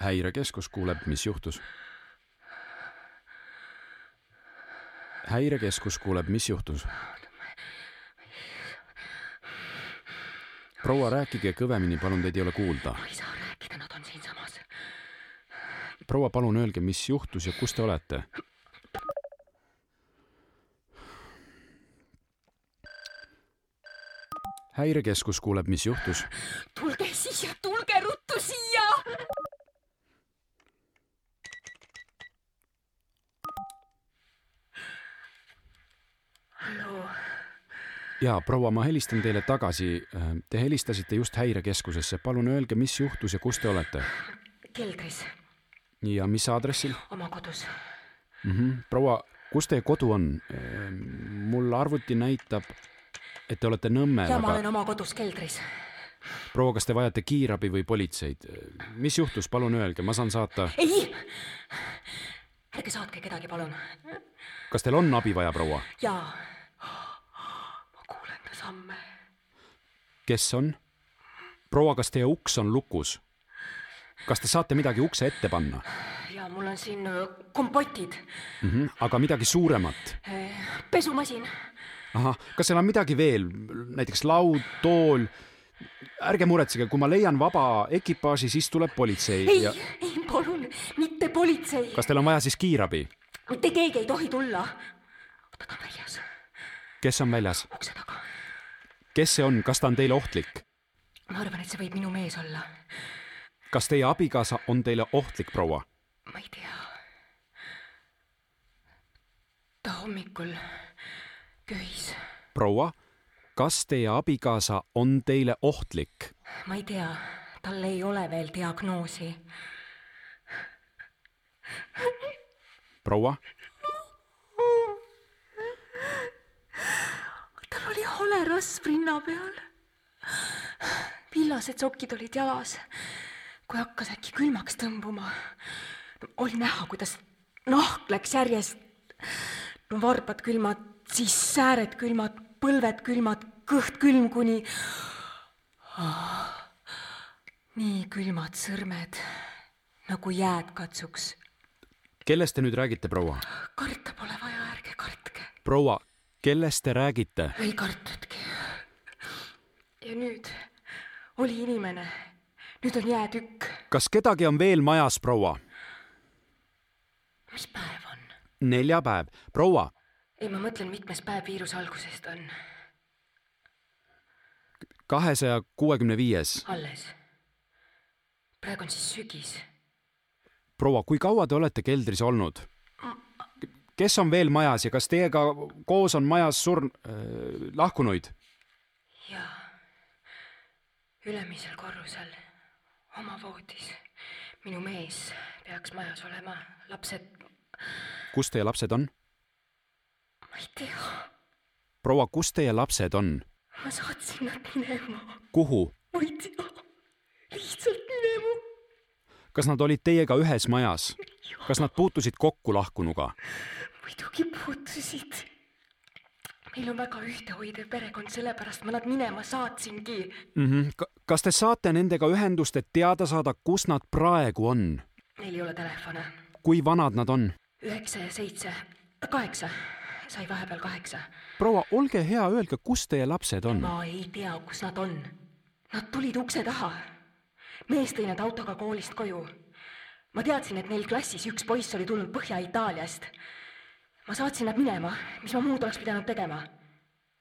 häirekeskus kuuleb , mis juhtus . häirekeskus kuuleb , mis juhtus . proua , rääkige kõvemini , palun , teid ei ole kuulda . ma ei saa rääkida , nad on siinsamas . proua , palun öelge , mis juhtus ja kus te olete ? häirekeskus kuuleb , mis juhtus . tulge siia , tulge ruttu siia . halloo , jaa , proua , ma helistan teile tagasi . Te helistasite just häirekeskusesse , palun öelge , mis juhtus ja kus te olete keldris , ja mis aadressil oma kodus . mm ? -hmm. proua , kus teie kodu on ? mul arvuti näitab , et te olete Nõmmel , ja ma olen aga oma kodus keldris . proua , kas te vajate kiirabi või politseid ? mis juhtus , palun öelge , ma saan saata . ei , ärge saatke kedagi , palun . kas teil on abi vaja , proua ? jaa , ma kuulen ta samme . kes on ? proua , kas teie uks on lukus ? kas te saate midagi ukse ette panna ja mul on siin öö, kompotid , mm ? -hmm. aga midagi suuremat pesumasin , ahah , kas seal on midagi veel , näiteks laud , tool ? ärge muretsege , kui ma leian vaba ekipaaži , siis tuleb politsei ei ja , ei palun , mitte politsei . kas teil on vaja siis kiirabi ? mitte keegi ei tohi tulla . oota , ta on väljas , kes on väljas , ukse taga . kes see on , kas ta on teile ohtlik ? ma arvan , et see võib minu mees olla . kas teie abikaasa on teile ohtlik , proua ? ma ei tea . ta hommikul köhis , proua , kas teie abikaasa on teile ohtlik ? ma ei tea , tal ei ole veel diagnoosi . proua , tal oli holerasv rinna peal . villased sokid olid jalas . kui hakkas äkki külmaks tõmbuma , oli näha , kuidas nahk läks järjest , no varbad külmad , siis sääred külmad , põlved külmad , kõht külm kuni . nii külmad sõrmed nagu jääd katsuks . kellest te nüüd räägite , proua ? karta pole vaja , ärge kartke . proua , kellest te räägite ? ei kartnudki . ja nüüd oli inimene , nüüd on jäätükk . kas kedagi on veel majas , proua ? mis päev on ? neljapäev , proua , ei , ma mõtlen , mitmes päev viiruse algusest on kahesaja kuuekümne viies . alles . praegu on siis sügis . proua , kui kaua te olete keldris olnud ? kes on veel majas ja kas teiega koos on majas surn- äh, , lahkunuid ? ja ülemisel korrusel oma voodis minu mees peaks majas olema , lapsed , kus teie lapsed on ? ma ei tea , proua , kus teie lapsed on ? ma saatsin nad minema , kuhu ? ma ei tea , lihtsalt minema kas nad olid teiega ühes majas ? kas nad puutusid kokku lahkunuga ? muidugi puutusid . meil on väga ühtehoidev perekond , sellepärast ma nad minema saatsingi . mm . -hmm. kas te saate nendega ühendust , et teada saada , kus nad praegu on ? Neil ei ole telefone . kui vanad nad on ? üheksa ja seitse , kaheksa , sai vahepeal kaheksa . proua , olge hea , öelge , kus teie lapsed on ? ma ei tea , kus nad on . Nad tulid ukse taha . mees tõi nad autoga koolist koju . ma teadsin , et neil klassis üks poiss oli tulnud Põhja-Itaaliast . ma saatsin nad minema , mis ma muud oleks pidanud tegema .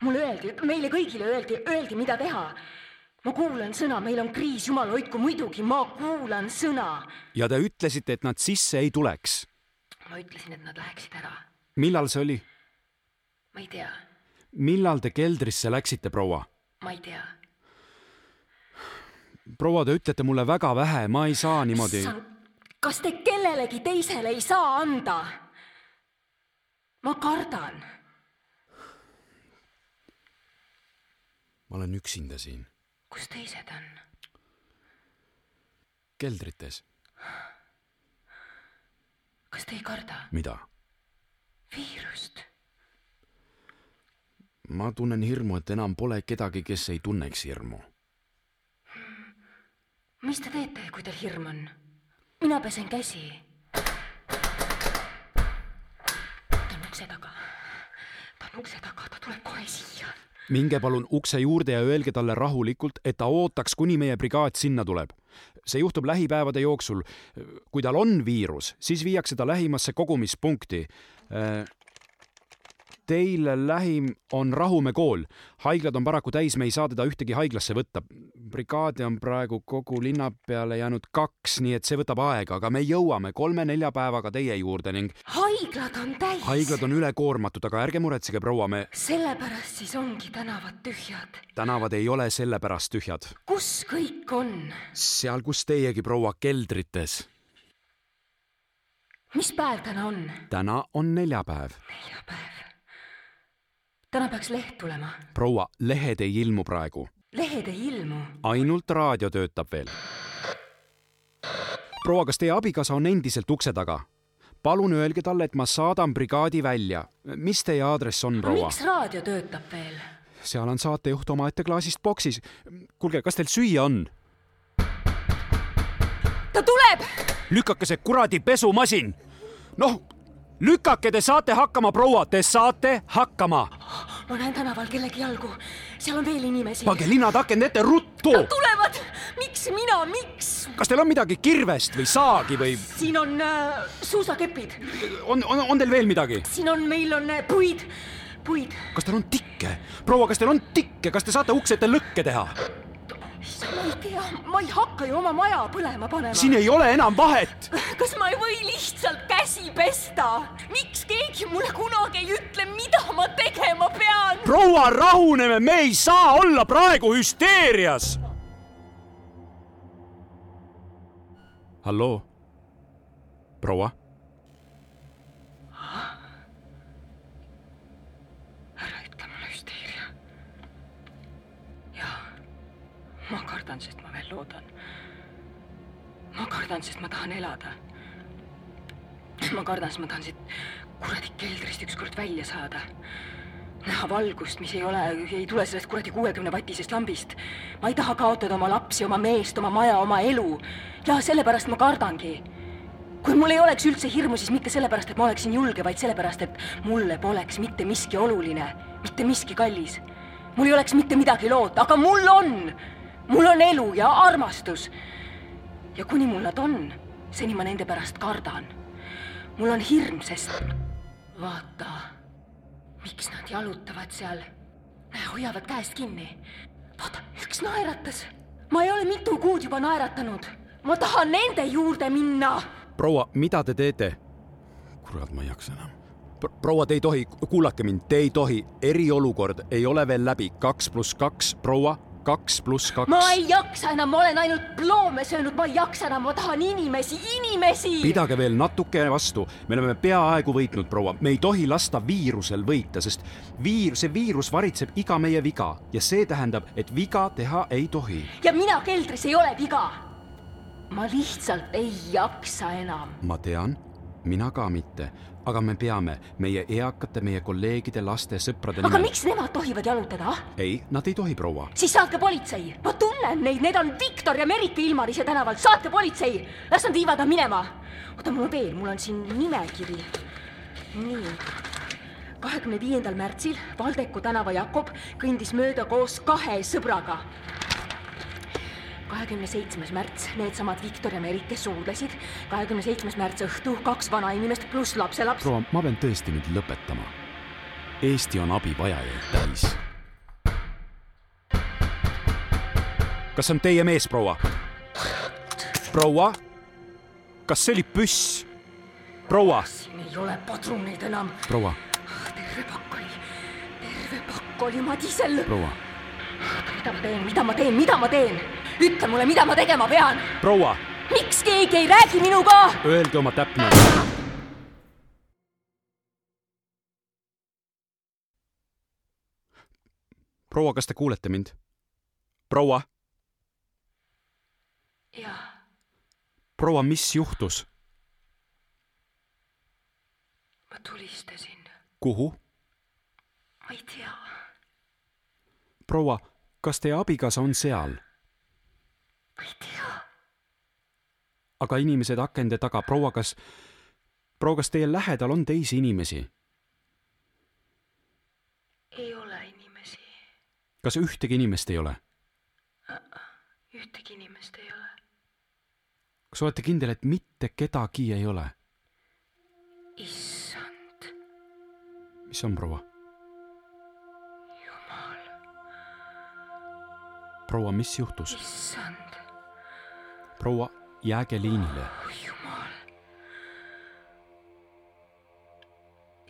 mulle öeldi , meile kõigile öeldi , öeldi , mida teha . ma kuulan sõna , meil on kriis , jumal hoidku muidugi , ma kuulan sõna . ja te ütlesite , et nad sisse ei tuleks . ma ütlesin , et nad läheksid ära . millal see oli ? ma ei tea , millal te keldrisse läksite , proua ? ma ei tea . proua , te ütlete mulle väga vähe , ma ei saa niimoodi . kas te kellelegi teisele ei saa anda ? ma kardan ma olen üksinda siin kus teised on ? keldrites . kas te ei karda mida ? viirust ? ma tunnen hirmu , et enam pole kedagi , kes ei tunneks hirmu . mis te teete , kui teil hirm on ? mina pesen käsi . ta on ukse taga . ta on ukse taga , ta tuleb kohe siia . minge palun ukse juurde ja öelge talle rahulikult , et ta ootaks , kuni meie brigaad sinna tuleb . see juhtub lähipäevade jooksul . kui tal on viirus , siis viiakse ta lähimasse kogumispunkti . Teile lähim on Rahumäe kool . haiglad on paraku täis , me ei saa teda ühtegi haiglasse võtta . brigaade on praegu kogu linna peale jäänud kaks , nii et see võtab aega , aga me jõuame kolme-nelja päevaga teie juurde ning haiglad on täis . haiglad on ülekoormatud , aga ärge muretsege , proua , me sellepärast siis ongi tänavad tühjad . tänavad ei ole sellepärast tühjad . kus kõik on ? seal , kus teiegi , proua , keldrites . mis päev täna on ? täna on neljapäev . neljapäev . täna peaks leht tulema . proua , lehed ei ilmu praegu , lehed ei ilmu . ainult raadio töötab veel . proua , kas teie abikaasa on endiselt ukse taga ? palun öelge talle , et ma saadan brigaadi välja . mis teie aadress on , proua ? miks raadio töötab veel ? seal on saatejuht omaette klaasist boksis . kuulge , kas teil süüa on ? ta tuleb . lükake see kuradi pesumasin . noh , lükake , te saate hakkama , proua , te saate hakkama . ma näen tänaval kellegi jalgu , seal on veel inimesi . pange linad akende ette ruttu . Nad tulevad , miks mina , miks ? kas teil on midagi kirvest või saagi või siin on äh, suusakepid , on, on , on teil veel midagi ? siin on , meil on äh, puid , puid . kas teil on tikke ? proua , kas teil on tikke , kas te saate ukse ette lõkke teha ? issand , ma ei tea , ma ei hakka ju oma maja põlema panema . siin ei ole enam vahet . kas ma ei või lihtsalt käsi pesta ? miks keegi mulle kunagi ei ütle , mida ma tegema pean ? proua , rahuneme , me ei saa olla praegu hüsteerias . halloo , proua , ära ütle mulle hüsteeria . jaa , ma kardan , sest ma veel loodan . ma kardan , sest ma tahan elada . ma kardan , sest ma tahan siit kuradi keldrist ükskord välja saada . näha valgust , mis ei ole , ei tule sellest kuradi kuuekümne vatisest lambist . ma ei taha kaotada oma lapsi , oma meest , oma maja , oma elu . ja sellepärast ma kardangi kui mul ei oleks üldse hirmu , siis mitte sellepärast , et ma oleksin julge , vaid sellepärast , et mulle poleks mitte miski oluline , mitte miski kallis . mul ei oleks mitte midagi loota , aga mul on , mul on elu ja armastus . ja kuni mul nad on , seni ma nende pärast kardan . mul on hirm , sest vaata , miks nad jalutavad seal , hoiavad käest kinni . vaata , üks naeratas , ma ei ole mitu kuud juba naeratanud , ma tahan nende juurde minna proua , mida te teete ? kurat , ma ei jaksa enam . proua , te ei tohi , kuulake mind , te ei tohi , eriolukord ei ole veel läbi , kaks pluss kaks , proua , kaks pluss kaks . ma ei jaksa enam , ma olen ainult loome söönud , ma ei jaksa enam , ma tahan inimesi , inimesi . pidage veel natuke vastu , me oleme peaaegu võitnud , proua , me ei tohi lasta viirusel võita , sest viir , see viirus varitseb iga meie viga ja see tähendab , et viga teha ei tohi . ja mina keldris ei ole viga . ma lihtsalt ei jaksa enam . ma tean , mina ka mitte , aga me peame meie eakate , meie kolleegide , laste , sõprade aga . miks nemad tohivad jalutada , ah ? ei , nad ei tohi , proua . siis saatke politsei , ma tunnen neid , need on Viktor ja Merike Ilmarise tänaval , saatke politsei , las nad viivad nad minema . oota , mul on veel , mul on siin nimekiri . nii , kahekümne viiendal märtsil Valdeku tänava Jakob kõndis mööda koos kahe sõbraga . kahekümne seitsmes märts , needsamad Viktor ja Merike suudlesid . kahekümne seitsmes märts õhtu kaks vanainimest pluss lapselaps . proua , ma pean tõesti nüüd lõpetama . Eesti on abivajajaid täis . kas see on teie mees , proua ? proua ? kas see oli püss ? proua , siin ei ole padruneid enam . proua , terve pakk oli , terve pakk oli madisel proua , mida ma teen , mida ma teen , mida ma teen ? ütle mulle , mida ma tegema pean . proua , miks keegi ei räägi minuga ? öelge oma täpne . proua , kas te kuulete mind ? proua , jah , proua , mis juhtus ? ma tulistasin , kuhu ? ma ei tea , proua , kas teie abikaasa on seal ? ma ei tea , aga inimesed akende taga. proua , kas , proua , kas teie lähedal on teisi inimesi ? ei ole inimesi , kas ühtegi inimest ei ole ? ühtegi inimest ei ole . kas olete kindel , et mitte kedagi ei ole ? issand mis on , proua ? jumal , proua , mis juhtus ? issand proua , jääge liinile . jumal .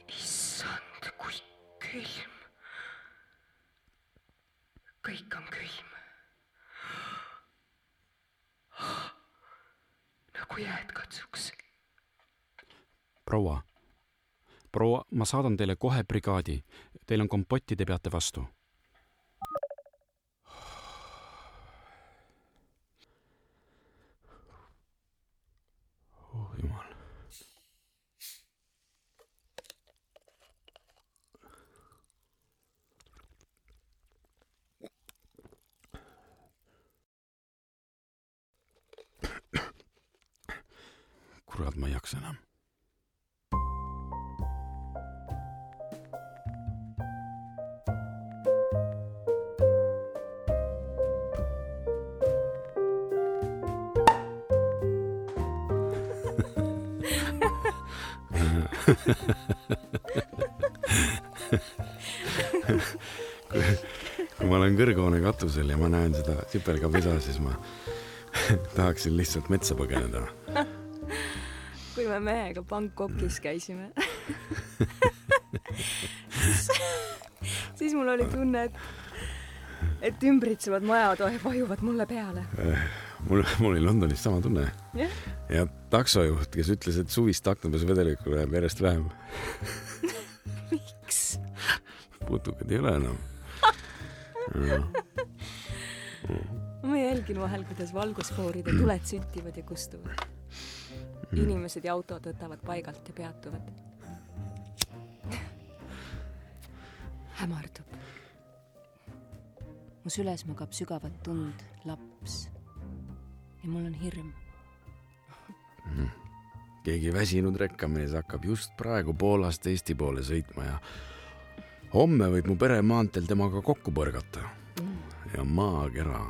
issand , kui külm . kõik on külm . nagu jääd katsuks . proua , proua , ma saadan teile kohe brigaadi . Teil on kompotti , te peate vastu . oh jumal . kurat , ma ei jaksa enam . kui ma olen kõrghoone katusel ja ma näen seda sipelgapisa , siis ma tahaksin lihtsalt metsa põgeneda . kui me mehega Bangkokis käisime , siis mul oli tunne , et , et ümbritsevad majad vahe- vajuvad mulle peale . mul , mul oli Londonis sama tunne jah , ja taksojuht , kes ütles , et suvist aknapesuvedelikku läheb järjest vähem . miks ? putukaid ei ole enam . ma jälgin vahel , kuidas valgusfooride tuled süttivad ja kustuvad . inimesed ja autod võtavad paigalt ja peatuvad . hämardub . mu süles magab sügavat tund laps ja mul on hirm . keegi väsinud rekkamees hakkab just praegu Poolast Eesti poole sõitma ja homme võib mu pere maanteel temaga kokku põrgata . ja maakera ,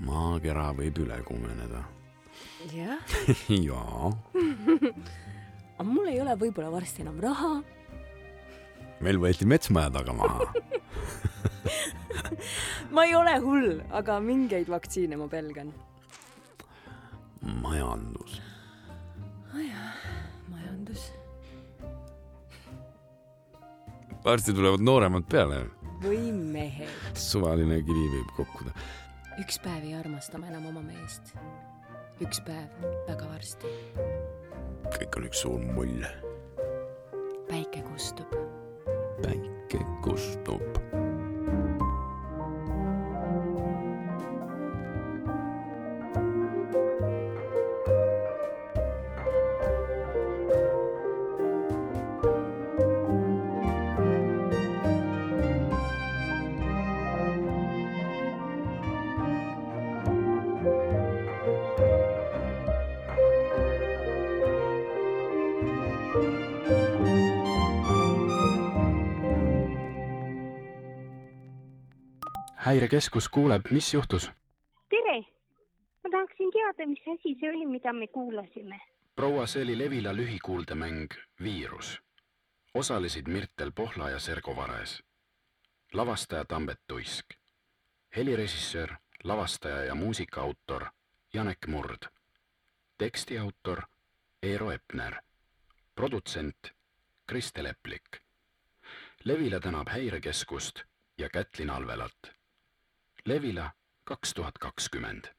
maakera võib üle kuumeneda . jah , jaa , aga mul ei ole võib-olla varsti enam raha meil võeti metsmaja taga maha ma ei ole hull , aga mingeid vaktsiine ma pelgan . majandus . majandus varsti tulevad nooremad peale , või mehed . suvaline kivi võib kukkuda . üks päev ei armasta ma enam oma meest . üks päev väga varsti . kõik on üks suur mull . päike kustub . päike kustub . häirekeskus kuuleb , mis juhtus ? tere , ma tahaksin teada , mis asi see oli , mida me kuulasime . proua , see oli Levila lühikuuldemäng Viirus . osalesid Mirtel Pohla ja Sergo Vares . lavastaja Tambet Tuisk . helirežissöör , lavastaja ja muusikaautor Janek Murd . teksti autor Eero Epner . produtsent Kristel Eplik . Levila tänab Häirekeskust ja Kätlin Alvelat . Levila kaks tuhat kakskümmend